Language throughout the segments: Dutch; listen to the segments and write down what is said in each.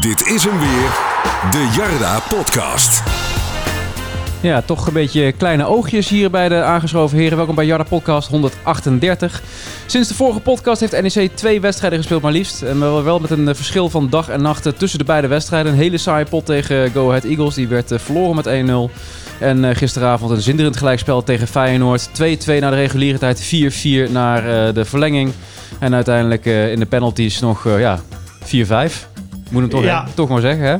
Dit is hem weer, de Jarda Podcast. Ja, toch een beetje kleine oogjes hier bij de aangeschoven heren. Welkom bij Jarda Podcast 138. Sinds de vorige podcast heeft NEC twee wedstrijden gespeeld, maar liefst. En wel wel met een eh, verschil van dag en nacht eh, tussen de beide wedstrijden. Een hele saaie pot tegen Go Ahead Eagles. Die werd eh, verloren met 1-0. En eh, gisteravond een zinderend gelijkspel tegen Feyenoord. 2-2 naar de reguliere tijd, 4-4 naar eh, de verlenging. En uiteindelijk eh, in de penalties nog eh, ja, 4-5. Moet hem toch, Ja. toch maar zeggen, hè?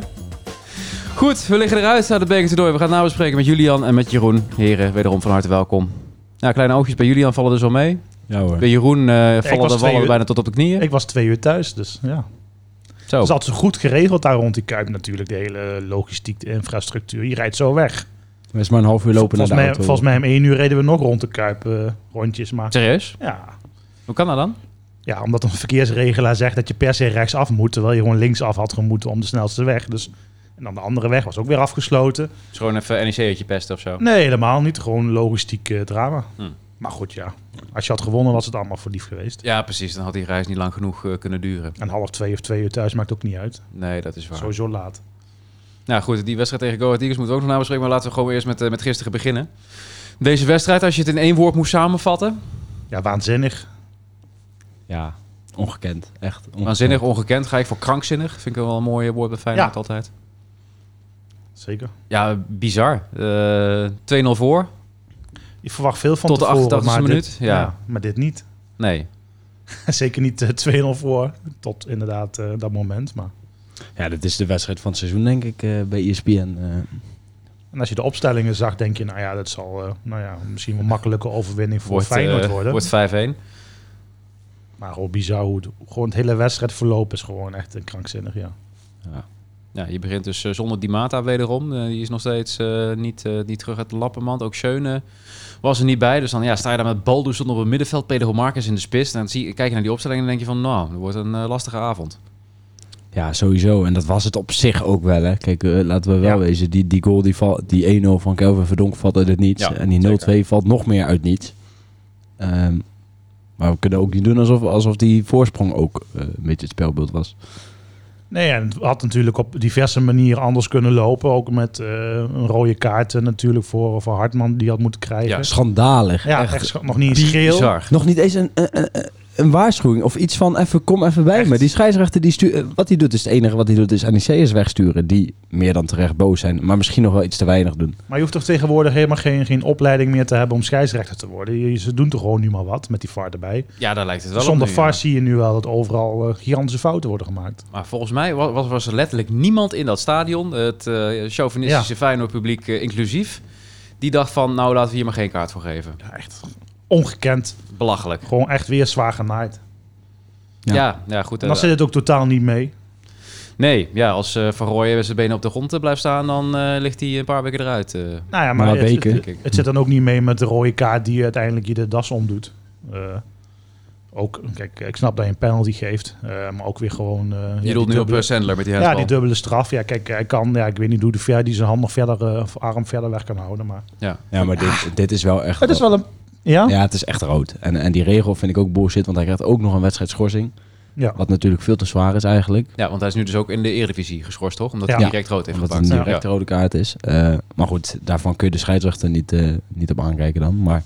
Goed, we liggen eruit aan de beker toernooi. We gaan het nabespreken met Julian en met Jeroen. Heren, wederom van harte welkom. Nou, kleine oogjes bij Julian vallen dus al mee. Ja hoor. Bij Jeroen eh, vallen was de twee wallen uur. bijna tot op de knieën. Ik was twee uur thuis, dus ja. Zo. Oh. Het is altijd zo goed geregeld daar rond die Kuip natuurlijk. De hele logistiek, de infrastructuur. Je rijdt zo weg. Er is maar een half uur lopen naar volgens, de mij, auto. volgens mij om één uur reden we nog rond de Kuip eh, rondjes. Maar Serieus? ja. Hoe kan dat dan? ja, omdat een verkeersregelaar zegt dat je per se rechtsaf moet... terwijl je gewoon linksaf had gemoeten om de snelste weg. Dus, en dan de andere weg was ook weer afgesloten. Oh. Is gewoon even NEC-uitje pesten of zo. Nee, helemaal niet. Gewoon logistiek eh, drama. Hm. Maar goed, ja. Als je had gewonnen was het allemaal voor lief geweest. Ja, precies. Dan had die reis niet lang genoeg eh, kunnen duren. En half twee of twee uur thuis maakt ook niet uit. Nee, dat is waar. Sowieso laat. Nou goed, die wedstrijd tegen Go Ahead Eagles moeten we ook nog nabespreken. Maar laten we gewoon eerst met, eh, met gisteren beginnen. Deze wedstrijd, als je het in één woord moest samenvatten. Ja, waanzinnig. Ja, ongekend. Echt ongekend. Waanzinnig, ongekend. Ga ik voor krankzinnig. Vind ik wel een mooi woord bij Feyenoord Ja. altijd. Zeker. Ja, bizar. Eh, 2-0 voor. Je verwacht veel van Tot de tevoren, 88e maar minuut, Dit, ja. maar dit niet. Nee. Zeker niet eh, 2-0 voor. Tot inderdaad eh, dat moment. Maar. Ja, dit is de wedstrijd van het seizoen denk ik eh, bij ESPN. eh. En als je de opstellingen zag, denk je, nou ja, dat zal eh, nou ja, misschien wel een makkelijke overwinning voor Wordt, Feyenoord eh, worden. wordt 5-1. Maar gewoon bizar hoe het, gewoon het hele wedstrijd verlopen is gewoon echt een krankzinnig, ja. Ja, je begint dus eh, zonder die Mata wederom. Eh, die is nog steeds eh, niet, eh, niet terug uit de lappenmand. Ook Schöne was er niet bij. Dus dan ja, sta je daar met Baldoes op het middenveld. Pedro Marcus in de spits. En dan zie, kijk je naar die opstelling en denk je van... Nou, dat wordt een eh, lastige avond. Ja, sowieso. En dat was het op zich ook wel. Hè. Kijk, eh, laten we wel Ja. wezen. Die, die goal, die, val, die 1-0 van Kelvin Verdonk valt uit het niets. Ja, en die 0-2 valt nog meer uit niets. Ehm, maar we kunnen ook niet doen alsof, alsof die voorsprong ook eh, een beetje het spelbeeld was. Nee, en het had natuurlijk op diverse manieren anders kunnen lopen. Ook met eh, een rode kaart eh, natuurlijk voor, voor Hartman, die had moeten krijgen. Schandalig. Ja, echt, echt. scha- nog niet eens geel. Bizar. Nog niet eens een, een, een, een waarschuwing of iets van even kom even bij Echt? me. Die scheidsrechter die stuurt, wat hij doet is het enige wat hij doet is NEC'ers wegsturen die meer dan terecht boos zijn, maar misschien nog wel iets te weinig doen. Maar je hoeft toch tegenwoordig helemaal geen, geen opleiding meer te hebben om scheidsrechter te worden. Je- Ze doen toch gewoon nu maar wat met die VAR erbij. Ja, daar lijkt het wel op Zonder nu, VAR ja. zie je nu wel dat overal eh, gigantische fouten worden gemaakt. Maar volgens mij wa- was, was er letterlijk niemand in dat stadion, het eh, chauvinistische Feyenoord publiek inclusief, die dacht van, nou laten we hier maar geen kaart voor geven. Ja, echt ongekend. Belachelijk. Gewoon echt weer zwaar genaaid. Ja, Ja. ja, goed. En eh, dan zit het ook totaal niet mee. Nee, ja, als eh Van Rooyen met zijn benen op de grond eh, blijft staan, dan eh, ligt hij een paar weken eruit. eh. Nou ja, maar, Maar het, Beke- het, Kijk. het zit dan ook niet mee met de rode kaart die uiteindelijk je de das omdoet. Eh, ook, kijk, ik snap dat je een penalty geeft. eh, maar ook weer gewoon... eh, ja, je die doelt nu op dubbele- eh, Sandler met die Ja, handbal. die dubbele straf. Ja, kijk, hij kan... Ja, ik weet niet hoe de ver, die zijn hand nog verder... eh, of arm verder weg kan houden, maar... Ja. Ja, maar dit, dit Ah. is wel echt. Oh, Het is wel een... Ja? Ja, het is echt rood. En, en die regel vind ik ook bullshit, want hij krijgt ook nog een wedstrijdschorsing, ja. wat natuurlijk veel te zwaar is eigenlijk. ja, want hij is nu dus ook in de Eredivisie geschorst, toch? Omdat Ja. hij direct rood heeft Omdat het gepakt. een Ja. directe rode kaart is. Eh, maar goed, daarvan kun je de scheidsrechter niet, eh, niet op aankijken dan. Maar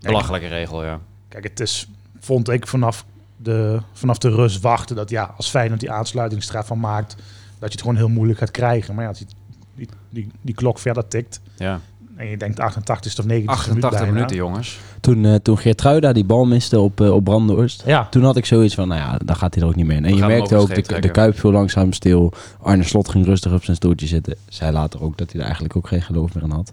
Belachelijke regel, ja. Kijk, het is, vond ik vanaf de, vanaf de rust wachten dat ja, als Feyenoord die aansluitingsstraf van maakt, dat je het gewoon heel moeilijk gaat krijgen. Maar ja, als die, die, die, die klok verder tikt ja. en je denkt 88 of 90 88 minuut minuten, bijna. jongens. toen, eh toen Geertruida die bal miste op, eh, op Brandhorst, Ja, Toen had ik zoiets van, nou ja, dan gaat hij er ook niet meer in. We En je gaan hem merkte over ook, de de, streep de trekken. Kuip viel langzaam stil. Arne Slot ging rustig op zijn stoeltje zitten. Zei later ook dat hij er eigenlijk ook geen geloof meer aan had.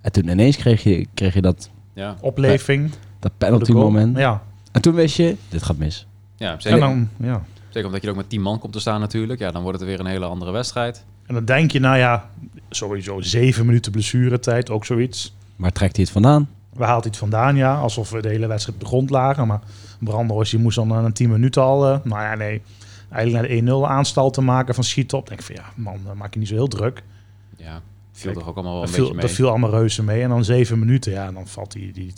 En toen ineens kreeg je, kreeg je dat, Ja, opleving. voor dat penalty de goal. moment. Ja, En toen wist je, dit gaat mis. ja en zeker. dan, ja. nou. Zeker omdat je er ook met 10 man komt te staan natuurlijk. Ja, dan wordt het weer een hele andere wedstrijd. En dan denk je, nou ja, sowieso zeven minuten blessuretijd, ook zoiets. Maar trekt hij het vandaan? Waar haalt hij het vandaan? Ja, alsof we de hele wedstrijd op de grond lagen. Maar Brandhorst, die moest dan na 10 minuten al, eh, nou ja, nee, eigenlijk naar de 1-0 aanstal te maken van schiet op. Denk ik van ja, man, dan maak je niet zo heel druk. Ja, viel Kijk, toch ook allemaal wel een Dat viel, beetje mee. dat viel allemaal reuze mee. En dan zeven minuten, ja, en dan valt die, die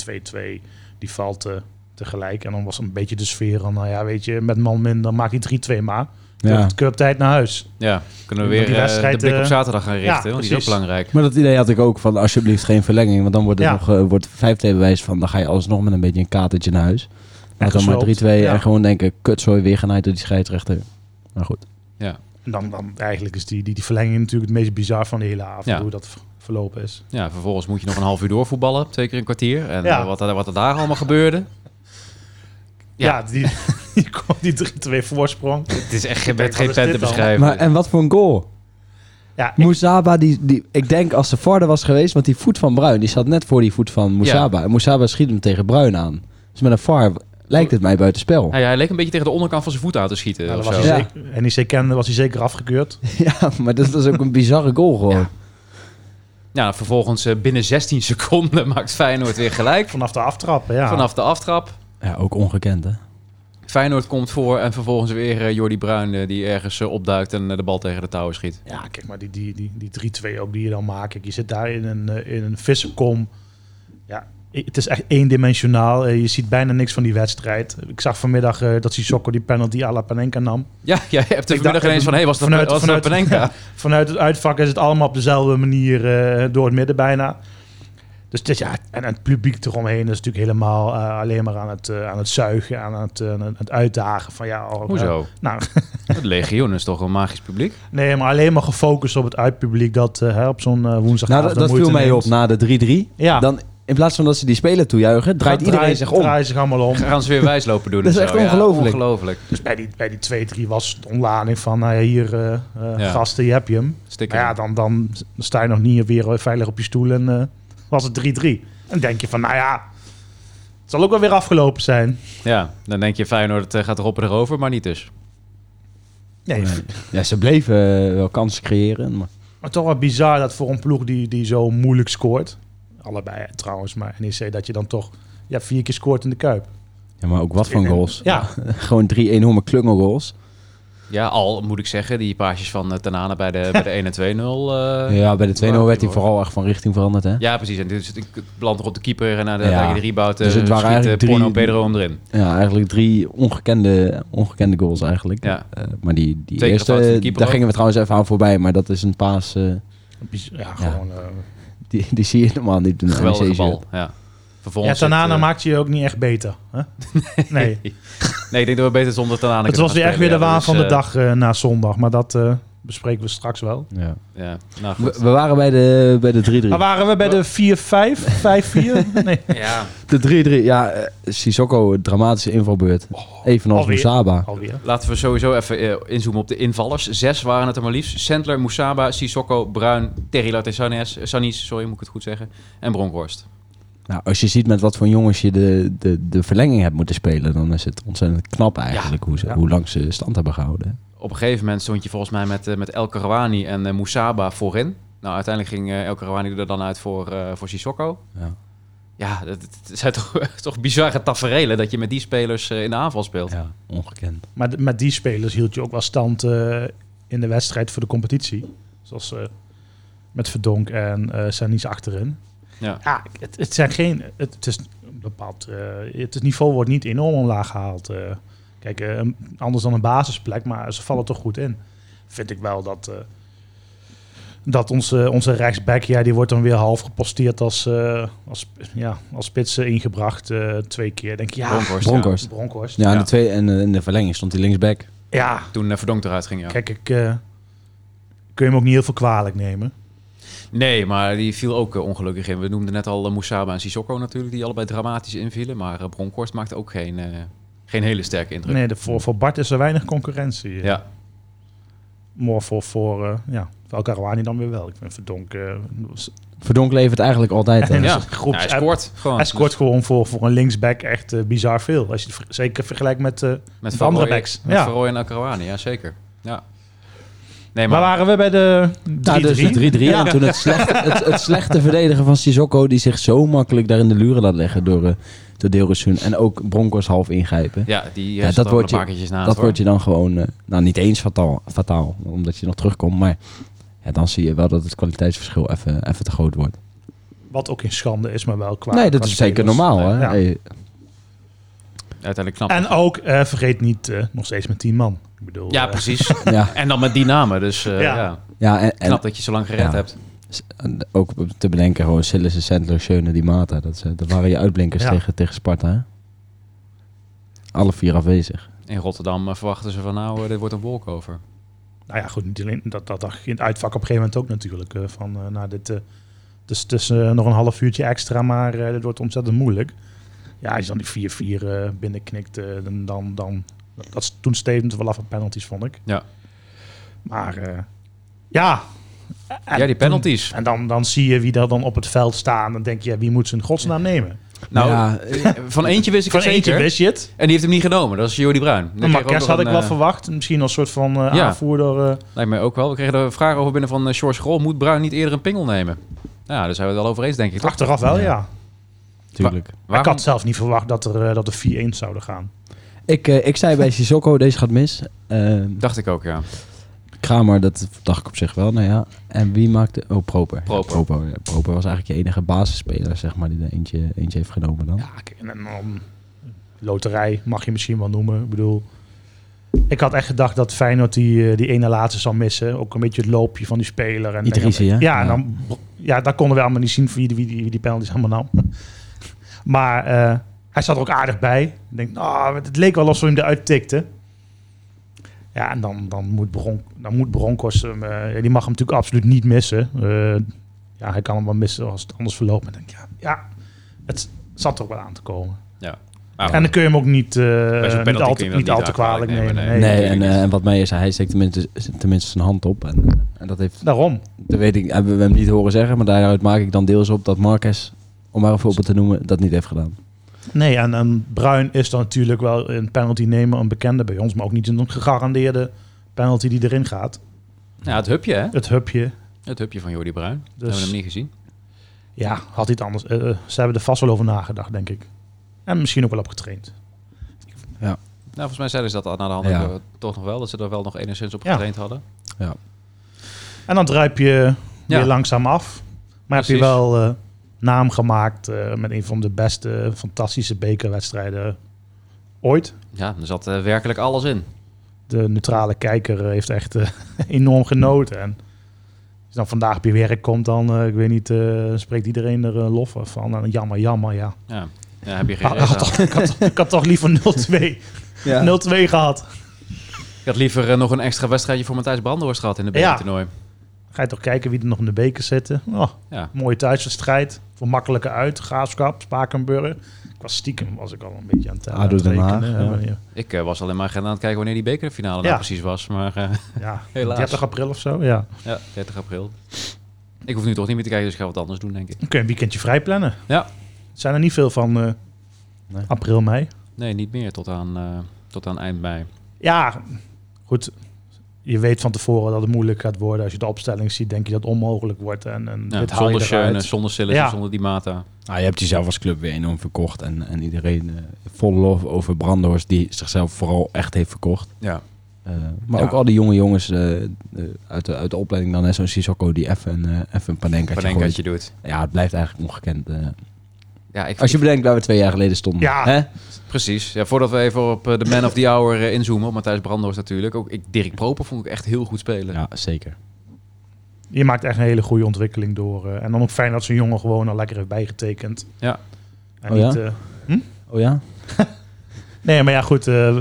2-2, die valt eh, tegelijk. En dan was een beetje de sfeer van, nou ja, weet je, met man minder maak die 3-2 maar. Ja. Cup, cup tijd naar huis. Ja, kunnen we weer Want die eh, wedstrijd, de blik op eh, zaterdag gaan richten, ja, want die is ook precies. belangrijk. Maar dat idee had ik ook van alsjeblieft geen verlenging. Want dan wordt het Ja. nog, eh, wordt vijfde bewijs van dan ga je alsnog met een beetje een katertje naar huis. En dan maar gesloopt. 3-2 Ja. en gewoon denken, kutzooi weer genaaid door die scheidsrechter. Maar goed. En dan, dan eigenlijk is die, die, die verlenging natuurlijk het meest bizar van de hele avond. Ja. Hoe dat v- verlopen is. Ja, vervolgens moet je nog een half uur doorvoetballen, twee keer een kwartier. En Ja. eh, wat, er- wat er daar allemaal gebeurde. Ja. Ja, die, die, kon- die 3-2 voorsprong. Het is echt Kijk, met wat geen is pen dit te dan? beschrijven. Maar, en wat voor een goal. Ja, ik- Moesaba, die, die, ik denk als de Varde was geweest, want die voet van Bruin, die zat net voor die voet van Moesaba. En Moesaba schiet hem tegen Bruin aan. Dus met een VAR lijkt het mij buitenspel. Hij, hij leek een beetje tegen de onderkant van zijn voet aan te schieten. nou, of dan was zo. hij Ja. zeker, NEC kende, was hij zeker afgekeurd. Ja, maar dat was ook een bizarre goal gewoon. Ja. Ja, vervolgens eh, binnen 16 seconden maakt Feyenoord weer gelijk. Vanaf de aftrap, ja. Vanaf de aftrap. Ja, ook ongekend hè. Feyenoord komt voor en vervolgens weer eh, Jordi Bruin eh, die ergens eh, opduikt en eh, de bal tegen de touwen schiet. Ja, kijk maar, die, die, die, die 3-2 ook die je dan maakt. Kijk, je zit daar in een, eh, in een vissenkom. Ja, i- het is echt eendimensionaal. Eh, Je ziet bijna niks van die wedstrijd. Ik zag vanmiddag eh, dat Sissoko die penalty à la Panenka nam. Ja, jij hebt er Ik vanmiddag dacht- ineens van, hé, hey, was dat, vanuit- was vanuit- dat Penenka? Vanuit het uitvak is het allemaal op dezelfde manier eh, door het midden bijna. Dus het is, ja, en, en het publiek eromheen is natuurlijk helemaal eh, alleen maar aan het, eh, aan het zuigen, aan het, eh, aan het uitdagen. Van, ja, oh, eh, Hoezo? nou, Het legioen is toch een magisch publiek? nee, maar alleen maar gefocust op het uitpubliek dat eh, hè, op zo'n eh, Nou, woensdagavond dat, de dat viel moeite mij neemt. op na de 3-3. Ja. Dan, in plaats van dat ze die speler toejuichen, draait Dan iedereen zich om. Draait zich allemaal om. Gaan ze weer wijs lopen doen? Dat en is zo, echt ja. ongelooflijk. ongelooflijk. Dus bij die, bij die 2-3 was het onlading van, nou ja, hier eh, eh, Ja. gasten, hier heb je hem. Stikker. Maar ja, dan, dan sta je nog niet weer veilig op je stoel en eh, was het 3-3. En dan denk je van, nou ja, het zal ook wel weer afgelopen zijn. Ja, dan denk je Feyenoord eh, gaat erop en erover, maar niet dus. Nee, Nee. Ja, ze bleven eh, wel kansen creëren. Maar maar toch wel bizar dat voor een ploeg die, die zo moeilijk scoort, allebei eh, trouwens, maar NEC, dat je dan toch ja, vier keer scoort in de Kuip. Ja, maar ook wat van goals. Ja, Gewoon drie enorme klungelgoals. Ja, al moet ik zeggen, die paasjes van eh, Tanane bij de, bij de 1 en 2-0. eh, ja, bij de 2-0 werd hij hoor. vooral echt van richting veranderd. Hè? Ja, precies. En dit is het land nog op de keeper en naar de, Ja. naar de rebound. eh, Dus het waren schiet, eh, eigenlijk drie- Porno Pedro hem erin. Ja, eigenlijk drie ongekende, ongekende goals eigenlijk. Ja. Eh, maar die, die Zeker eerste, fout van de daar keeper ook. gingen we trouwens even aan voorbij. Maar dat is een paas, eh, Biz- ja gewoon... eh, die, die zie je normaal niet. in E een Geweldige NEC shirt. bal. Ja. ja, Vervolgens Tanana het, eh, maakt je ook niet echt beter. Hè? Nee. Nee, ik denk dat we beter zonder Tanane Het kunnen was weer gaan echt weer de spelen, ja. waan Dus, van de eh, dag eh, na zondag. Maar dat eh, bespreken we straks wel. Ja. Ja, nou We, goed. we waren bij de, bij de 3-3. Ah, Maar waren we bij de 4-5? 5-4? Nee. Ja, De 3-3, ja. eh, Sissoko, dramatische invalbeurt. Oh, Evenals alweer. Moussaba. Alweer. laten we sowieso even eh, inzoomen op de invallers. Zes waren het er maar liefst. Sendler, Moussaba, Sissoko, Bruin, Terry Sanis, Sanis, sorry, moet ik het goed zeggen. En Bronkhorst. Nou, als je ziet met wat voor jongens je de, de, de verlenging hebt moeten spelen... dan is het ontzettend knap eigenlijk hoe, ze, Ja. hoe lang ze stand hebben gehouden. hè. Op een gegeven moment stond je volgens mij met, eh, met El Karawani en eh, Moussaba voorin. Nou, uiteindelijk ging eh, El Karawani er dan uit voor, eh voor Sissoko. Ja. Ja, dat, dat- dat zijn toch, toch bizarre tafereelen dat je met die spelers eh, in de aanval speelt. Ja, Ja, ongekend. Maar d- met die spelers hield je ook wel stand eh, in de wedstrijd voor de competitie. Zoals eh, met Verdonk en eh Sanis achterin. Ja. het, het zijn geen... Het, het is een bepaald... eh, het, het niveau wordt niet enorm omlaag gehaald. eh. kijk, eh, een- anders dan een basisplek, maar ze vallen toch goed in. Vind ik wel dat... eh, dat onze, onze rechtsback, ja, die wordt dan weer half geposteerd als, eh, als, ja, als spits eh, ingebracht. eh, twee keer. Denk ik, ja, Bronkhorst, Bronkhorst. Bronkhorst. Ja, in, Ja. De twee, en, eh, in de verlenging stond hij linksback. ja, ja. Toen eh, Verdonk eruit ging, ja. Kijk, ik eh, kun je hem ook niet heel veel kwalijk nemen. Nee, maar die viel ook eh, ongelukkig in. We noemden net al eh, Moussaba en Sissoko natuurlijk, die allebei dramatisch invielen. Maar eh, Bronkhorst maakte ook geen, eh, geen hele sterke indruk. Nee, de, voor, voor Bart is er weinig concurrentie. eh. Ja, Maar voor, voor, eh ja, voor El Karouani dan weer wel. Ik vind Verdonk... eh, was- Verdonk levert eigenlijk altijd. eh, hè. En ja. dus groeps- Ja, hij scoort gewoon. dus. hij scoort gewoon voor, voor een linksback echt eh, bizar veel. Als je het ver- zeker vergelijkt met... eh, Dus Met Met Van andere Rooij- backs. Met Ja. Van Rooij en Akarouani, ja zeker. Ja. Nee, waar maar, waren we bij de 3-3? Ja, dus de 3-3. En toen het slechte, het, het slechte verdedigen van Sissoko... die zich zo makkelijk daar in de luren laat leggen door, eh door Deelrussoen. En ook Broncos half ingrijpen. ja, die eh, Ja, ja, dat dat wordt wordt een je- paar keertjes naast. dat hoor. wordt je dan gewoon... eh, nou, niet eens fataal, fataal, omdat je nog terugkomt. Maar ja, dan zie je wel dat het kwaliteitsverschil even, even te groot wordt. Wat ook in schande is, maar wel kwalijk. nee, dat is zeker normaal. Nee, hè? ja. Hey. uiteindelijk knap. En ook, eh, vergeet niet, eh, nog steeds met 10 man. Ik bedoel, ja, eh, precies. Ja, en dan met die namen. Dus eh, ja. Ja. ja en, en knap dat je zo lang gered Ja. hebt. en ook te bedenken, gewoon Sillissen, Sandler, Schöne, die Mata. Dat, ze- dat waren je uitblinkers Ja. tegen, tegen Sparta. hè? Alle vier afwezig. In Rotterdam eh, verwachten ze van nou, eh, dit wordt een walkover. Ah, nou ja, goed, niet alleen dat, dat dacht ik in het uitvak op een gegeven moment ook natuurlijk. eh, van, eh, nou, dit, eh, dus het is eh, nog een half uurtje extra, maar eh dit wordt ontzettend moeilijk. Ja, als je dan die 4-4 eh, binnenknikt, eh, dan, dan, dan... Dat is toen stevend wel af van penalties, vond ik. Ja. Maar eh, ja... En ja, die toen- penalties. En dan, dan zie je wie daar dan op het veld staan. Dan denk je, ja, wie moet ze in godsnaam nemen? nou, ja, van eentje wist ik Van het zeker. eentje wist je het. En die heeft hem niet genomen. Dat is Jordi Bruin. Die Maar kreeg ook Marquez nog had een, ik wel eh, verwacht. Misschien als soort van eh, Ja. aanvoerder. eh, Lijkt mij ook wel. We kregen de vraag over binnen van eh, George Grol. Moet Bruin niet eerder een pingel nemen? Ja, daar zijn we het wel over eens, denk ik. Toch? achteraf wel, Ja. ja. tuurlijk. Ik Waarom- had zelf niet verwacht dat er, eh, dat er 4-1 zouden gaan. Ik, eh, ik zei bij Sissoko, deze gaat mis. Ehm Dacht ik ook, ja. Kramer, dat dacht ik op zich wel. Nou ja. En wie maakte... Oh, Proper. Proper. Ja, Proper, ja. Proper was eigenlijk je enige basisspeler, zeg maar, die er eentje, eentje heeft genomen dan. Ja, kijk, en dan um, loterij mag je misschien wel noemen. Ik bedoel, ik had echt gedacht dat Feyenoord die, eh, die ene laatste zou missen. Ook een beetje het loopje van die speler. En, Idrissi, ja. hè? en dan, ja, daar konden we allemaal niet zien wie die, wie die, wie die penalties allemaal nam. Maar eh, hij zat er ook aardig bij. Ik denk, nou, het leek wel alsof hij hem eruit tikte. Ja, en dan, dan, moet, Bron, dan moet Broncos hem... eh, ja, die mag hem natuurlijk absoluut niet missen. Eh, ja, hij kan hem wel missen als het anders verloopt. Maar ik denk, ja, ja, het zat er wel aan te komen. Maar goed. En dan kun je hem ook niet, eh, penalty niet, al kun te, je hem niet niet al te aan kwalijk kwalijk nemen. nemen, Nee. nee, en, natuurlijk eh, niet. en wat mij is, hij steekt tenminste, tenminste zijn hand op. En, eh, en dat heeft, Daarom. dat weet ik, hebben we hem niet horen zeggen, maar daaruit maak ik dan deels op dat Marquez, om maar een voorbeeld te noemen, dat niet heeft gedaan. Nee, en, en Bruin is dan natuurlijk wel een penalty nemen een bekende bij ons, maar ook niet een gegarandeerde penalty die erin gaat. Ja, het hupje, hè? Het hupje, Het hupje van Jordi Bruin. Dus- Dat hebben we hem niet gezien. ja, had iets anders. eh, eh, ze hebben er vast wel over nagedacht, denk ik. En misschien ook wel op getraind. Nou, volgens mij zeiden ze dat na de hand Ja. eh, toch nog wel. Dat ze er wel nog enigszins op Ja. getraind hadden. En dan druip je Ja. weer langzaam af. Maar heb Precies. je wel eh, naam gemaakt eh, met een van de beste, fantastische bekerwedstrijden ooit. Ja, er zat eh, werkelijk alles in. de neutrale kijker eh, heeft echt eh, enorm genoten. En als je dan vandaag bij werk komt, dan, eh, ik weet niet, eh, spreekt iedereen er eh, lof van. En jammer, jammer, ja. Ja, ja heb je geen Ik reet had, aan. toch, ik, had, ik had toch liever 0-2 0-2 gehad. Ik had liever eh, nog een extra wedstrijdje voor Matthijs Brandenhorst gehad in de Ja. bekertoernooi. Ga je toch kijken wie er nog in de beker zitten. Oh, Ja. mooie thuiswedstrijd. Voor makkelijke uit. Graafschap, Spakenburg. Ik was stiekem, was ik al een beetje aan het ADO Den aan het Haag, rekenen, ja. wanneer- Ik eh, was al in mijn agenda aan het kijken wanneer die bekerfinale Ja. nou precies was. Maar eh, ja. Helaas. 30 april of zo, ja. ja, 30 april. Ik hoef nu toch niet meer te kijken, dus ik ga wat anders doen, denk ik. Dan kun je een weekendje vrij plannen. Ja. Zijn er niet veel van eh, Nee. april, mei. Nee, niet meer tot aan, eh, tot aan eind mei. Ja, goed. Je weet van tevoren dat het moeilijk gaat worden. Als je de opstelling ziet, denk je dat het onmogelijk wordt. En, en Ja, dit haal je zonder Schöne, eruit. zonder Sillis, Ja. zonder die Mata. Nou, je hebt jezelf als club weer enorm verkocht en, en iedereen eh, vol lof over Brandhorst, die zichzelf vooral echt heeft verkocht. Ja. Eh, maar Ja. ook al die jonge jongens eh, eh, uit, de, uit de opleiding dan, hè, zo'n Sissoko die even een, eh, even een panenkaatje gooit. Panenkaatje doet. Ja, het blijft eigenlijk ongekend. eh. Ja, ik, Als je bedenkt waar we twee jaar geleden stonden. Ja. Hè? Precies. Ja, voordat we even op eh, de man of the hour eh, inzoomen, op Matthijs Brandhorst natuurlijk. Ook ik, Dirk Proper vond ik echt heel goed spelen. ja zeker. Je maakt echt een hele goede ontwikkeling door. eh, en dan ook fijn dat zo'n jongen gewoon al lekker heeft bijgetekend. Ja. En Oh niet, ja? eh, Oh ja? nee, maar ja, goed. eh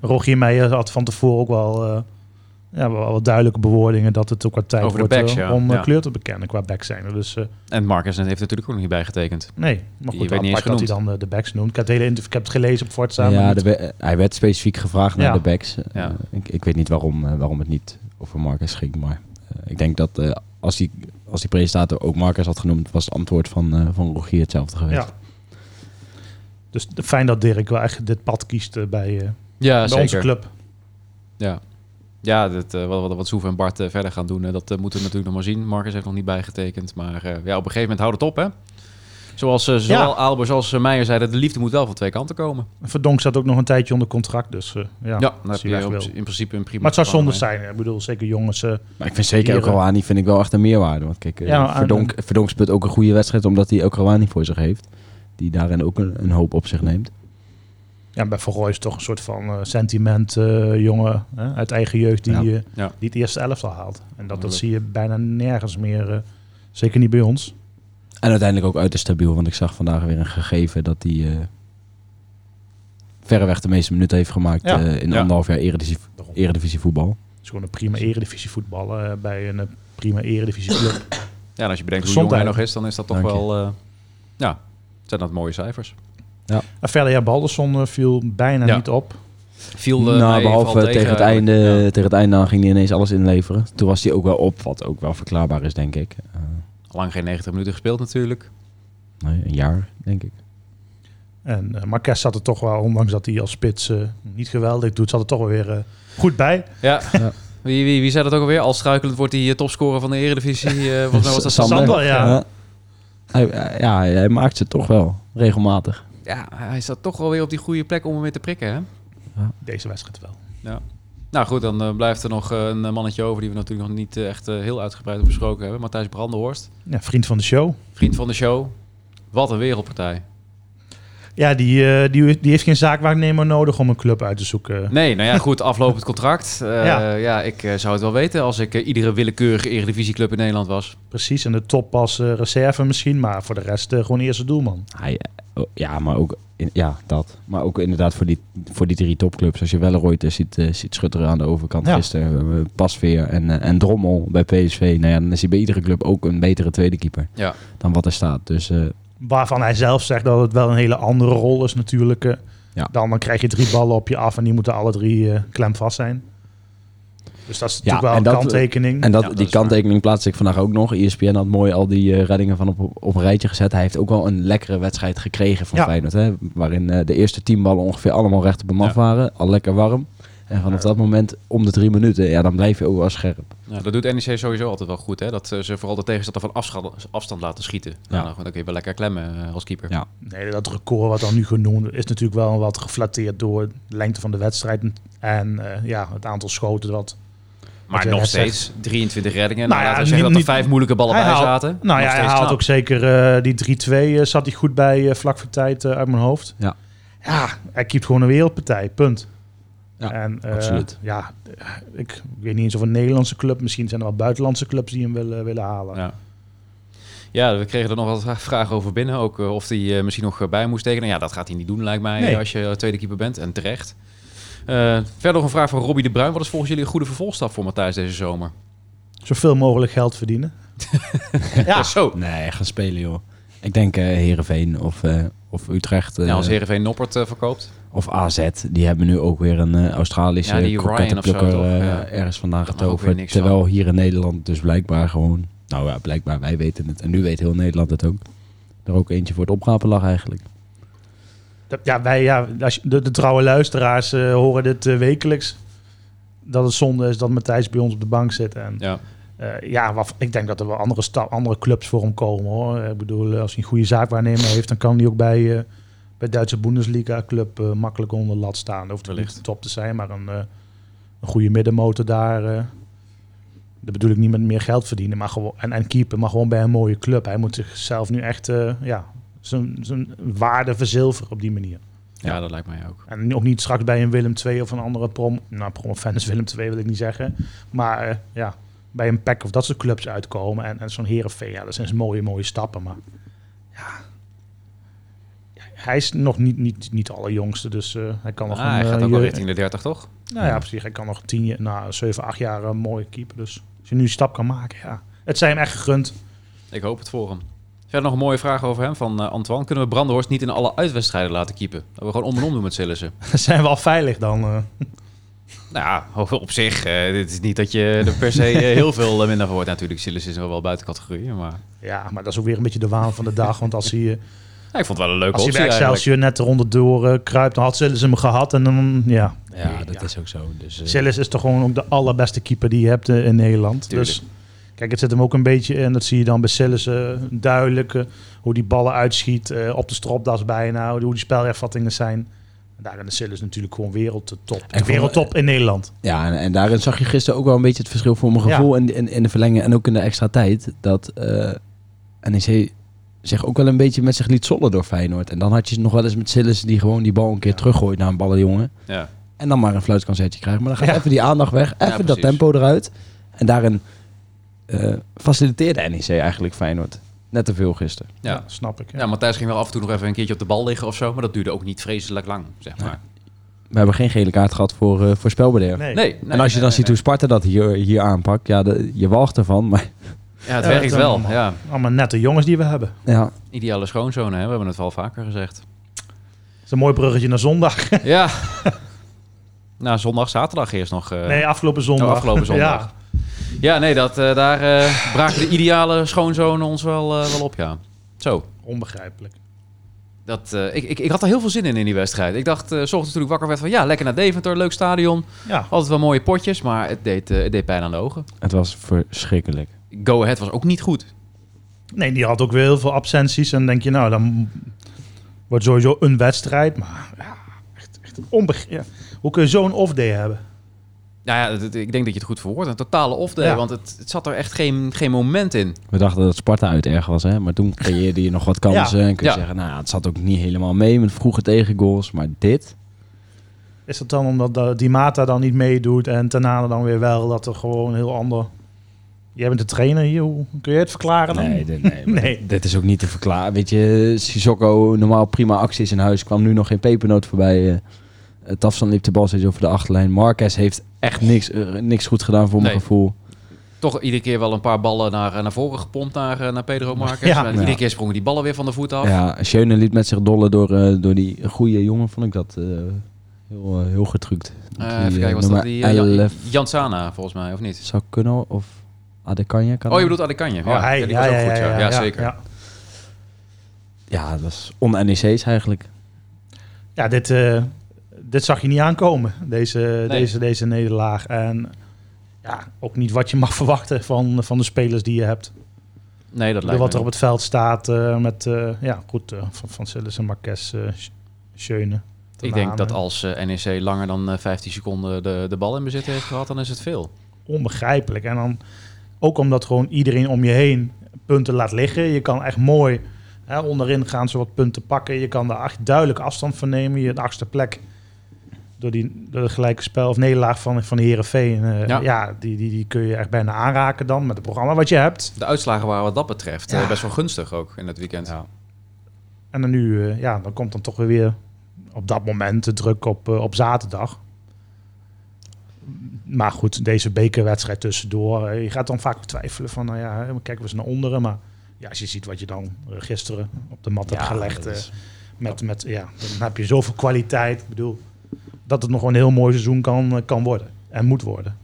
Rogier Meijer had van tevoren ook wel, eh, ja, wel wat duidelijke bewoordingen... dat het ook wat tijd Over de wordt backs, eh, ja. om eh, Ja. kleur te bekennen qua back zijn. Dus eh, En Marcus heeft natuurlijk ook nog niet bijgetekend. nee, maar Je goed, weet niet eens apart dat hij dan eh, de backs noemt. Ik heb het, hele interv- ik heb het gelezen op Forza. maar ja niet- de we- eh, hij werd specifiek gevraagd naar Ja. de backs. Eh, Ja. ik, ik weet niet waarom, eh, waarom het niet over Marcus ging. Maar eh, ik denk dat eh, als, die, als die presentator ook Marcus had genoemd, was het antwoord van, eh, van Rogier hetzelfde geweest. Ja. Dus de- fijn dat Dirk wel echt dit pad kiest eh, bij, eh, Ja, bij onze club. Ja, ja dat, eh, wat, wat, wat Soef en Bart eh, verder gaan doen, eh, dat eh, moeten we natuurlijk nog maar zien. Marcus heeft nog niet bijgetekend, maar eh, ja, op een gegeven moment houdt het op, hè? Zoals eh, zowel Ja. Aalbers als eh, Meijer zeiden, de liefde moet wel van twee kanten komen. Verdonk zat ook nog een tijdje onder contract, dus eh, ja. Ja, als dan heb hij je weg op- wil. in principe een prima... Maar het zou zonde plan, hè. zijn. Ik bedoel, zeker jongens. eh, Maar ik vind zeker Hier, eh, Rouhani vind ik wel echt een meerwaarde. Want kijk, eh, Ja, en- Verdonk, Verdonk speelt ook een goede wedstrijd omdat hij ook Rouhani voor zich heeft. Die daarin ook een, een hoop op zich neemt. Ja, bij Van Rooij is toch een soort van eh, sentiment eh, jongen hè, uit eigen jeugd die, Ja. eh, Ja. die het eerste elftal haalt. En dat, dat Tuurlijk. zie je bijna nergens meer. eh, zeker niet bij ons. En uiteindelijk ook uiterst stabiel, want ik zag vandaag weer een gegeven dat hij eh, verreweg de meeste minuten heeft gemaakt Ja. eh, in Ja. anderhalf jaar eredivisie, eredivisie voetbal. Het is gewoon een prima eredivisie voetballen eh, bij een eh, prima eredivisie club. Ja, en als je bedenkt hoe jong Gezondheid. hij nog is, dan is dat toch Dank je. wel... eh, ja, zijn dat mooie cijfers. en verder, ja, Balderson eh, viel bijna Ja. niet op. Viel eh, mij nou, behalve valt tegen, het eigenlijk. einde, eh, Ja. tegen het einde aan ging hij ineens alles inleveren. Toen was hij ook wel op, wat ook wel verklaarbaar is, denk ik. Eh, Lang geen 90 minuten gespeeld natuurlijk. nee, een jaar, denk ik. En eh Marquez zat er toch wel, ondanks dat hij als spits eh, niet geweldig doet, zat er toch wel weer eh, goed bij. Ja. Ja. Wie, wie, wie zei dat ook alweer? Al struikelend wordt hij eh, topscorer van de Eredivisie. eh, volgens mij was dat Sa- Dus Sander. Sander, ja. Hij, eh, ja, hij maakt ze toch wel, regelmatig. Ja, hij staat toch wel weer op die goede plek om hem weer te prikken, hè? Deze wedstrijd wel. Nou goed, dan eh, blijft er nog eh, een mannetje over die we natuurlijk nog niet eh, echt eh, heel uitgebreid hebben besproken hebben. Matthijs Brandenhorst, Ja, vriend van de show. vriend van de show. Wat een wereldpartij. Ja, die, eh, die, die heeft geen zaakwaarnemer nodig om een club uit te zoeken. Nee, nou ja, goed, aflopend contract. Eh, ja. Ja. ik eh, zou het wel weten als ik eh, iedere willekeurige Eredivisieclub in Nederland was. Precies, en de top als eh, reserve misschien, maar voor de rest eh, gewoon eerste doelman. Hij, eh, oh, ja, maar ook, in- ja, dat. Maar ook inderdaad voor die, voor die drie topclubs. Als je Welleroyter ziet, eh, ziet schutteren aan de overkant Ja. gisteren. eh, Pasveer en, eh, en Drommel bij PSV. Nou ja, dan is hij bij iedere club ook een betere tweede keeper Ja. dan wat er staat. Dus eh, Waarvan hij zelf zegt dat het wel een hele andere rol is natuurlijk. eh. Ja. Dan, dan krijg je drie ballen op je af en die moeten alle drie eh, klemvast zijn. Dus dat is Ja, natuurlijk wel en een dat- eh, kanttekening. En dat, Ja, dat die is waar. kanttekening plaatste ik vandaag ook nog. E ESPN had mooi al die eh, reddingen van op, op een rijtje gezet. Hij heeft ook wel een lekkere wedstrijd gekregen van Ja. Feyenoord. Hè? Waarin eh, de eerste tien ballen ongeveer allemaal recht op hem af Ja. waren. Al lekker warm. En vanaf dat moment om de drie minuten, ja, dan blijf je ook wel scherp. Nou, dat doet NEC sowieso altijd wel goed, hè? Dat eh, ze vooral de tegenstander van afscha- afstand laten schieten. Nou, dan kun je wel lekker klemmen eh, als keeper. Ja. Nee, dat record wat dan nu genoemd is natuurlijk wel wat geflatteerd door de lengte van de wedstrijd. En eh, ja, het aantal schoten wat... Maar jij nog net steeds 23 reddingen. Nou Nou, laten ja, we zeggen niet- dat er niet- vijf moeilijke ballen Hij bij haalt- zaten. Nou Nog ja, hij steeds haalt knap. ook zeker eh, die 3-2 eh, zat hij goed bij eh, vlak voor tijd eh, uit mijn hoofd. Ja. ja, hij keept gewoon een wereldpartij, punt. Ja, en, eh, absoluut. Ja, eh, ik weet niet eens of een Nederlandse club, misschien zijn er wel buitenlandse clubs die hem willen, eh, willen halen. Ja. Ja, we kregen er nog wat vra- vragen over binnen. Ook eh, of hij eh, misschien nog eh, bij moest tekenen. Ja, dat gaat hij niet doen, lijkt mij, Nee. als je eh, tweede keeper bent. En terecht. Eh, verder nog een vraag van Robbie de Bruin. Wat is volgens jullie een goede vervolgstap voor Matthijs deze zomer? Zoveel mogelijk geld verdienen. Ja, zo. Nee, gaan spelen joh. Ik denk eh Herenveen of, eh, of Utrecht eh, Ja, Nou, als Heerenveen Noppert eh, verkoopt. of AZ. Die hebben nu ook weer een eh, Australische Ja, ja, die Ryan of zo, toch? Ja. ergens vandaan Kan er ook weer getoverd. niks van. Terwijl hier in Nederland dus blijkbaar gewoon... Nou ja, blijkbaar, wij weten het. En nu weet heel Nederland het ook. Er ook eentje voor het oprapen lag eigenlijk. Dat- Ja, wij, ja als je- de, de trouwe luisteraars eh, horen dit eh, wekelijks. Dat het zonde is dat Matthijs bij ons op de bank zit. En Ja. Eh, ja, wat, ik denk dat er wel andere, sta- andere clubs voor hem komen hoor. Ik bedoel, eh, als hij een goede zaakwaarnemer heeft, dan kan hij ook bij, eh, bij Duitse Bundesliga club eh, makkelijk onder de lat staan. Hoeft er Wellicht. niet top te zijn, maar een, eh, een goede middenmotor daar. eh dat bedoel ik niet met meer geld verdienen, maar gewoon, en, en keeper, maar gewoon bij een mooie club. Hij moet zichzelf nu echt eh, ja, zijn, zijn waarde verzilveren op die manier. Ja, dat lijkt mij ook. En ook niet straks bij een Willem II of een andere prom. Nou, promovendus Willem II wil ik niet zeggen. Maar eh, ja, bij een pack of dat soort clubs uitkomen. En, en zo'n Herenveen, ja, dat zijn dus mooie, mooie stappen. Maar ja, hij is nog niet, niet, niet de allerjongste. Dus eh, hij kan nog Ah, hij een, gaat eh, ook wel je- richting de 30, toch? Nou ja, precies. Hij kan nog tien jaar, nou, zeven, acht jaar een mooie keeper. Dus als je nu een stap kan maken, ja. Het zijn hem echt gegund. Ik hoop het voor hem. Verder nog een mooie vraag over hem van eh, Antoine. Kunnen we Brandenhorst niet in alle uitwedstrijden laten keepen? Dat we gewoon om en om doen met Sillissen. zijn we al veilig dan. eh. Nou ja, op- op zich. eh dit is niet dat je er per se eh, heel veel eh, minder van wordt. Natuurlijk, Silas is wel wel buiten categorie. Maar Ja, maar dat is ook weer een beetje de waan van de dag. Want als hij... eh, Ja, ik vond het wel een leuke Als hij optie bij Excelsior net eronder door eh, kruipt, dan had Sillis hem gehad. En dan, ja. Ja, dat is ook zo. Dus, eh, Sillis is toch gewoon ook de allerbeste keeper die je hebt eh, in Nederland. Tuurlijk. Dus kijk, het zit hem ook een beetje in. Dat zie je dan bij Sillis eh, duidelijk. eh, hoe die ballen uitschiet, eh, op de stropdas bijna. Hoe die spelervattingen zijn. Daarin is Sillis natuurlijk gewoon wereldtop. En voor- Wereldtop in Nederland. Ja, en, en daarin zag je gisteren ook wel een beetje het verschil voor mijn Ja. gevoel in, in, in de verlenging en ook in de extra tijd. Dat eh NEC zich ook wel een beetje met zich liet zollen door Feyenoord. En dan had je nog wel eens met Sillissen die gewoon die bal een keer teruggooit naar een ballenjongen. Ja. En dan maar een fluitkansetje krijgen. Maar dan gaat Ja. even die aandacht weg, even dat precies. tempo eruit. En daarin eh, faciliteerde NEC eigenlijk Feyenoord. Net te veel gisteren. Ja. snap ik. Ja. Ja, Matthijs ging wel af en toe nog even een keertje op de bal liggen of zo. Maar dat duurde ook niet vreselijk lang, zeg maar. We hebben geen gele kaart gehad voor, eh voor spelbederf. nee. Nee. en als je dan ziet hoe Sparta dat hier, hier aanpakt, ja, de- je walgt ervan. Maar hoe... Ja, het Ja, werkt dat wel. allemaal. Ja. Allemaal nette jongens die we hebben. ja, Ideale schoonzone, hè? we hebben het wel vaker gezegd. Dat is een mooi bruggetje naar zondag. ja. Nou, zondag, zaterdag eerst nog. eh. nee, afgelopen zondag. oh, afgelopen zondag. ja. Ja, nee, dat, eh, daar eh, braken de ideale schoonzonen ons wel, eh, wel op, ja. Zo. Onbegrijpelijk. Dat, eh, ik, ik, ik had er heel veel zin in in die wedstrijd. Ik dacht, eh, s ochtends toen ik wakker werd van ja, lekker naar Deventer, leuk stadion. Ja. Altijd wel mooie potjes, maar het deed, eh, het deed pijn aan de ogen. het was verschrikkelijk. Go Ahead was ook niet goed. Nee, die had ook weer heel veel absenties. En dan denk je, nou, dan wordt sowieso een wedstrijd. Maar ja, echt, echt onbegrijpelijk. Hoe kun je zo'n off-day hebben? Nou ja, dat- ik denk dat je het goed verwoordt. Een totale off day, Ja. want het, het zat er echt geen, geen moment in. We dachten dat Sparta uit erg was, hè? maar toen creëerde je nog wat kansen. En kun je Ja. zeggen, nou, ja, het zat ook niet helemaal mee met vroege tegengoals. Maar dit, Is dat dan omdat eh, die Mata dan niet meedoet en Tanane dan weer wel? Dat er gewoon een heel ander... Jij bent de trainer hier, hoe kun je het verklaren dan? nee, dit, nee, maar Nee. dit- dit is ook niet te verklaren. Weet je, Sissoko, normaal prima acties in huis, kwam nu nog geen pepernoot voorbij. eh. Eh, Tafsan liep de bal steeds over de achterlijn. Marquez heeft echt niks, eh, niks goed gedaan voor mijn Nee. gevoel. Toch iedere keer wel een paar ballen naar, naar voren gepompt naar, eh, naar Pedro Marquez. Ja. Maar iedere Ja. keer sprongen die ballen weer van de voet af. Ja, Schöne liet met zich dollen door, eh, door die goede jongen, vond ik dat eh, heel, eh, heel gedrukt. Eh, Die, even eh, kijken, was dat nummer die eh, Jan- 11 Jansana volgens mij, of niet? zou kunnen of Adekanje kan. Oh, je bedoelt Adekanje. Oh, hij. ja, Ja, die was ja, ook ja, goed, ja. ja, Ja, zeker. Ja, Ja, dat is on-NEC's eigenlijk. Ja, dit, eh, dit zag je niet aankomen, deze, deze, deze nederlaag. En ja, ook niet wat je mag verwachten van, van de spelers die je hebt. Nee, dat Door lijkt wat er me. op het veld staat eh, met, eh, ja goed, eh, van, van Sillis en Marques, eh Sch- Schöne. Ik denk dat als eh, NEC langer dan eh, 15 seconden de, de bal in bezit heeft gehad, dan is het veel. Onbegrijpelijk. En dan ook omdat gewoon iedereen om je heen punten laat liggen. Je kan echt mooi hè, onderin gaan ze wat punten pakken. Je kan daar echt duidelijk afstand van nemen. Je de achtste plek door, die, door de gelijke spel of nederlaag van, van de Heerenveen. eh Ja. ja, die, die, die kun je echt bijna aanraken dan met het programma wat je hebt. De uitslagen waren wat dat betreft Ja. eh, best wel gunstig ook in het weekend. Ja, En dan nu, eh, ja, dan komt dan toch weer weer op dat moment de druk op, eh, op zaterdag. Maar goed, deze bekerwedstrijd tussendoor. eh, je gaat dan vaak twijfelen van, nou ja, hè, kijken we eens naar onderen. Maar ja, als je ziet wat je dan eh, gisteren op de mat hebt gelegd. dat eh, is- met, met, ja, dan heb je zoveel kwaliteit. Ik bedoel, dat het nog wel een heel mooi seizoen kan, eh, kan worden. En moet worden.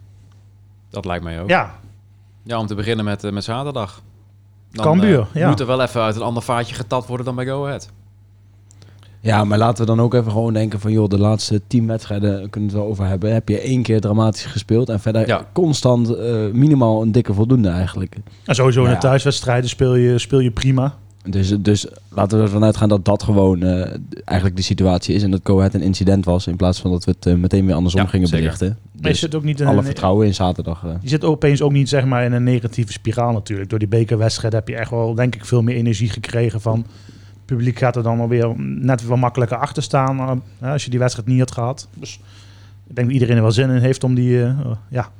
Dat lijkt mij ook. Ja, Ja, om te beginnen met, eh, met zaterdag. Dan, Cambuur, eh, ja. Moet er wel even uit een ander vaatje getapt worden dan bij Go Ahead. Ja, maar laten we dan ook even gewoon denken van... joh, de laatste tien wedstrijden kunnen we het wel over hebben. Heb je één keer dramatisch gespeeld... en verder Ja. constant eh, minimaal een dikke voldoende eigenlijk. en sowieso in Ja. de thuiswedstrijden speel je, speel je prima. Dus, dus laten we ervan uitgaan dat dat gewoon eh, eigenlijk de situatie is... en dat Go Ahead een incident was... in plaats van dat we het eh, meteen weer andersom Ja, gingen zeker. belichten. Maar eh, je Dus zit ook niet in alle een- vertrouwen in zaterdag. eh. Je zit opeens ook niet zeg maar, in een negatieve spiraal natuurlijk. Door die bekerwedstrijd heb je echt wel, denk ik, veel meer energie gekregen van... Het publiek gaat er dan alweer net wat makkelijker achter staan eh, hè, als je die wedstrijd niet had gehad. Dus ik denk dat iedereen er wel zin in heeft om, die, eh, eh, ja,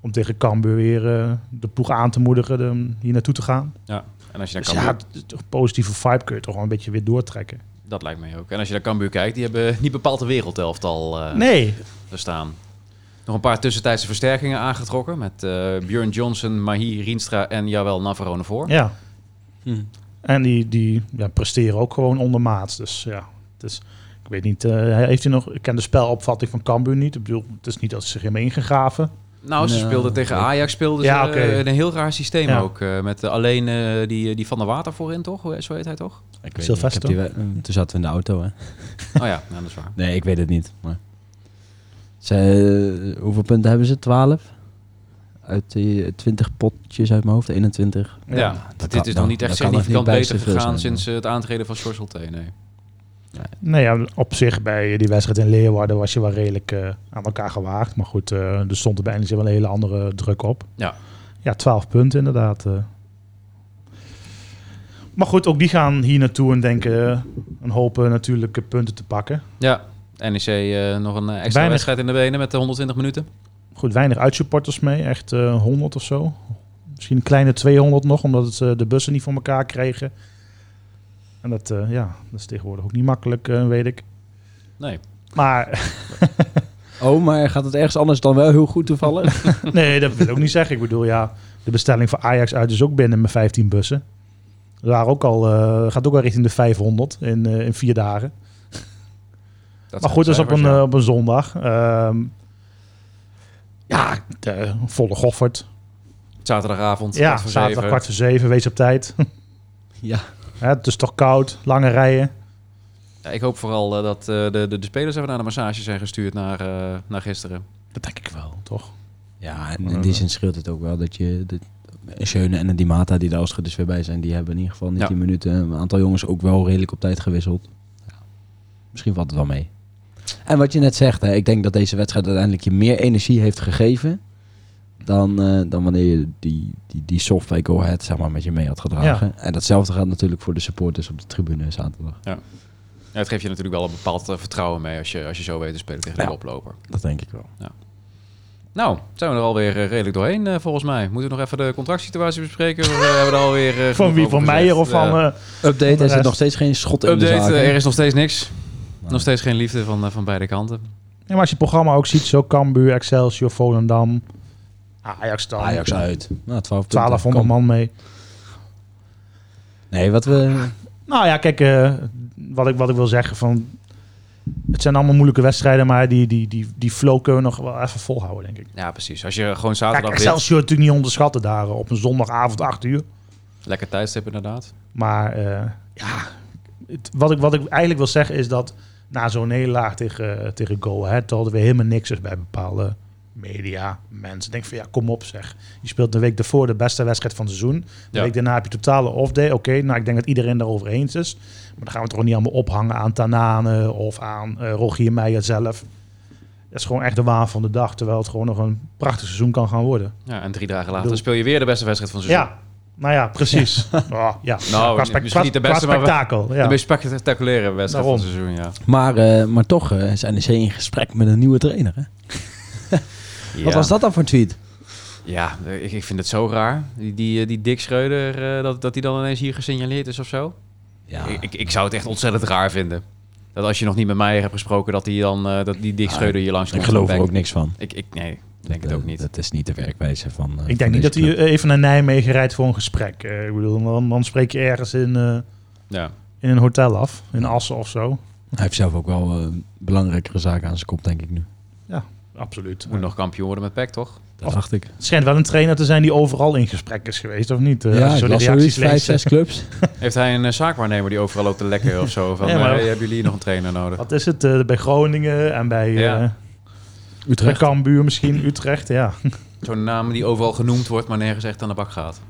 om tegen Cambuur weer eh, de ploeg aan te moedigen de- hier naartoe te gaan. En als je naar Dus Cambuur... ja, het- het positieve vibe kun je toch wel een beetje weer doortrekken. Dat lijkt mij ook. En als je naar Cambuur kijkt, die hebben niet bepaald de wereldelftal eh Nee, staan. Nog een paar tussentijdse versterkingen aangetrokken met eh Björn Johnson, Mahi, Rienstra en jawel Navarone voor. ja. Hm. Hmm. En die, die ja, presteren ook gewoon ondermaats. Dus ja, het is, ik weet niet, eh, heeft hij nog... Ik ken de spelopvatting van Cambuur niet. Ik bedoel, het is niet dat ze zich hebben ingegraven. Nou, ze Nou, speelden tegen oké. Ajax, speelden Ja, ze oké. eh, in een heel raar systeem Ja. ook. eh, met eh, alleen eh, die, die Van der Water voorin, toch? Hoe- Zo heet hij toch? Ik weet Sylvester? niet, ik heb die we- eh, toen zaten we in de auto, hè. Oh ja, nou, dat is waar. Nee, ik weet het niet. Maar... Ze, eh, hoeveel punten hebben ze? 12? Uit die 20 potjes uit mijn hoofd, 21. Ja, dat dit kan- is nog dan- niet echt dan kan het significant niet beter bijster veel gegaan zijn, sinds eh, het aantreden van Sjors Hulté, nee. Nou ja, op zich bij die wedstrijd in Leeuwarden was je wel redelijk eh, aan elkaar gewaagd. Maar goed, eh, er stond er bij NEC wel een hele andere druk op. Ja. Ja, 12 punten inderdaad. eh. Maar goed, ook die gaan hier naartoe en denken een hoop eh, natuurlijke punten te pakken. Ja, NEC eh, nog een eh, extra Weinig. wedstrijd in de benen met de 120 minuten. Goed, weinig uitsupporters mee. Echt eh 100 of zo. Misschien een kleine 200 nog, omdat het, eh, de bussen niet voor elkaar kregen. En dat, eh, ja, dat is tegenwoordig ook niet makkelijk, eh, weet ik. Nee. Maar Oh, maar gaat het ergens anders dan wel heel goed toevallig? nee, dat wil ik ook niet zeggen. Ik bedoel, ja, de bestelling voor Ajax uit is ook binnen met 15 bussen. Daar ook al, eh, gaat ook al richting de 500 in, eh, in vier dagen. Dat Maar zijn goed, dat is op cijfers, een, ja. eh, op een zondag. Ehm, ja, de volle goffert. zaterdagavond. Ja, kwart voor zaterdag zeven. kwart voor zeven, wees op tijd. ja. Hè, het is toch koud, lange rijen. Ja, ik hoop vooral eh, dat eh, de, de, de spelers even naar de massage zijn gestuurd naar, eh, naar gisteren. Dat denk ik wel, toch? Ja, en in die zin scheelt het ook wel dat je... Dat, een Schöne en een Di Mata die daar als het goed is weer bij zijn, die hebben in ieder geval niet Ja. 10 minuten. Een aantal jongens ook wel redelijk op tijd gewisseld. Ja. Misschien valt het wel mee. En wat je net zegt, hè, ik denk dat deze wedstrijd uiteindelijk je meer energie heeft gegeven dan, eh, dan wanneer je die, die, die software go-ahead zeg maar, met je mee had gedragen. En datzelfde gaat natuurlijk voor de supporters op de tribune zaterdag. Ja, het geeft je natuurlijk wel een bepaald eh, vertrouwen mee als je, als je zo weet te spelen tegen de Ja. oploper. Dat denk ik wel. Nou, zijn we er alweer eh, redelijk doorheen eh, volgens mij. Moeten we nog even de contractsituatie bespreken? Of, eh, hebben we er alweer, eh, Van genoeg wie? over Van gezegd? Meijer of van... Eh, eh, Update, de er zit rest. nog steeds geen schot in de zaak. update, hè? eh, er is nog steeds niks. Nee. Nog steeds geen liefde van, eh, van beide kanten. ja, maar als je het programma ook ziet, zo Cambuur, Excelsior, Volendam, Ajax dan. Ajax uit. Nou, 12 punten. 1200 Kan. man mee. Nee, wat we... Nou ja, kijk, eh, wat, ik, wat ik wil zeggen van... Het zijn allemaal moeilijke wedstrijden, maar die, die, die, die flow kunnen we nog wel even volhouden, denk ik. Ja, precies. Als je gewoon Kijk, zaterdag wint, Excelsior natuurlijk niet onderschatten daar eh, op een zondagavond 8 uur. lekker tijdstip inderdaad. Maar eh, ja, het- wat, ik, wat ik eigenlijk wil zeggen is dat na zo'n nederlaag tegen, eh, tegen Go Ahead... hadden we helemaal niks is bij bepaalde media, mensen. Ik denk van ja, kom op zeg. Je speelt de week daarvoor de beste wedstrijd van het seizoen. De Ja. week daarna heb je totale off-day. Oké, nou ik denk dat iedereen daarover eens is. Maar dan gaan we het toch niet allemaal ophangen aan Tanane of aan eh, Rogier Meijer zelf. Dat is gewoon echt de waan van de dag. Terwijl het gewoon nog een prachtig seizoen kan gaan worden. Ja, en drie dagen later Bedoel- speel je weer de beste wedstrijd van het seizoen. Ja, nou ja, precies. Ja. Oh, ja. Nou, Qua spek- misschien niet de qua- beste, qua maar we- spektakel. De ja. meest spectaculaire wedstrijd Daarom. van het seizoen, ja. Maar, eh, maar toch eh, is NEC in gesprek met een nieuwe trainer. Hè? Wat Ja. was dat dan voor tweet? Ja, eh, ik, ik vind het zo raar. Die, die, eh, die Dick Schreuder, eh, dat, dat die dan ineens hier gesignaleerd is of zo. Ja, Ik, ik- ik zou het echt ontzettend raar vinden. Dat als je nog niet met mij hebt gesproken, dat die, dan, eh, dat die Dick Ah, Schreuder hier langs ik komt. geloof Dan er denk ook niks van. Ik, ik, nee, ik denk het Dat- eh, ook niet. Dat is niet de werkwijze van. eh, Ik van denk niet deze dat hij club. eh, even naar Nijmegen rijdt voor een gesprek. Eh, ik bedoel, dan, dan spreek je ergens in, eh, Ja. in een hotel af. In Assen of zo. Hij heeft zelf ook wel eh, belangrijkere zaken aan zijn kop, denk ik nu. Absoluut. Moet nog kampioen worden met PEC, toch? Dat Of- dacht ik. Het schijnt wel een trainer te zijn die overal in gesprek is geweest, of niet? Eh, als ja, je ik zo de las reacties zoiets, vijf, leest, zes clubs. Heeft hij een eh, zaakwaarnemer die overal loopt te lekken of zo? Van, Ja, maar- eh, hey, hebben jullie hier nog een trainer eh, nodig? Wat is het? eh, bij Groningen en bij, eh, Ja. bij Utrecht. Cambuur misschien, Utrecht. Ja, Zo'n naam die overal genoemd wordt, maar nergens echt aan de bak gaat.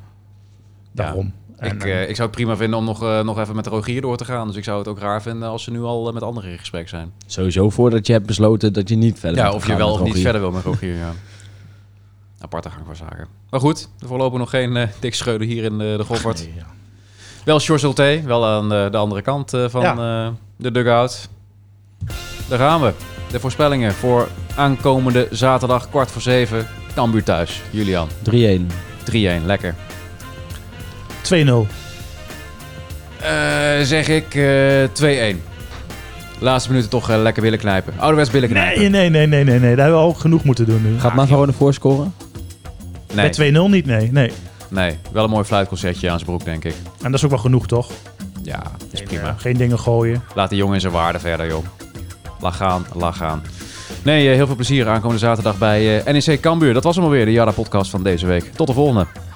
daarom. En, ik, eh, eh, ik zou het prima vinden om nog, eh, nog even met Rogier door te gaan. Dus ik zou het ook raar vinden als ze nu al eh, met anderen in gesprek zijn. Sowieso voordat je hebt besloten dat je niet verder Ja, wilt of je gaan wel met of niet Rogier. verder wil met Rogier, ja. Aparte gang van zaken. Maar goed, er voorlopig nog geen eh dik scheuden hier in eh, de Goffert. nee, ja. Wel George Hulté, wel aan eh, de andere kant eh, van eh, de dugout. Daar gaan we. De voorspellingen voor aankomende zaterdag kwart voor zeven. Cambuur thuis. Julian, 3-1. 3-1, lekker. 2-0. Eh, zeg ik eh 2-1. Laatste minuten toch eh, lekker willen knijpen. Ouderwets billen knijpen. Nee, nee, nee, nee, nee, nee. Daar hebben we ook genoeg moeten doen nu. Gaat maar gewoon een voorscoren? nee, Bij 2-0 niet, nee, nee. nee. wel een mooi fluitconcertje aan zijn broek, denk ik. En dat is ook wel genoeg, toch? Ja, dat is Geen, prima. eh, geen dingen gooien. Laat die jongen in zijn waarde verder, joh. Lach gaan, lach gaan. E Nee, eh, heel veel plezier aankomende zaterdag bij eh, NEC Cambuur. Dat was hem alweer, de Jara-podcast van deze week. Tot de volgende.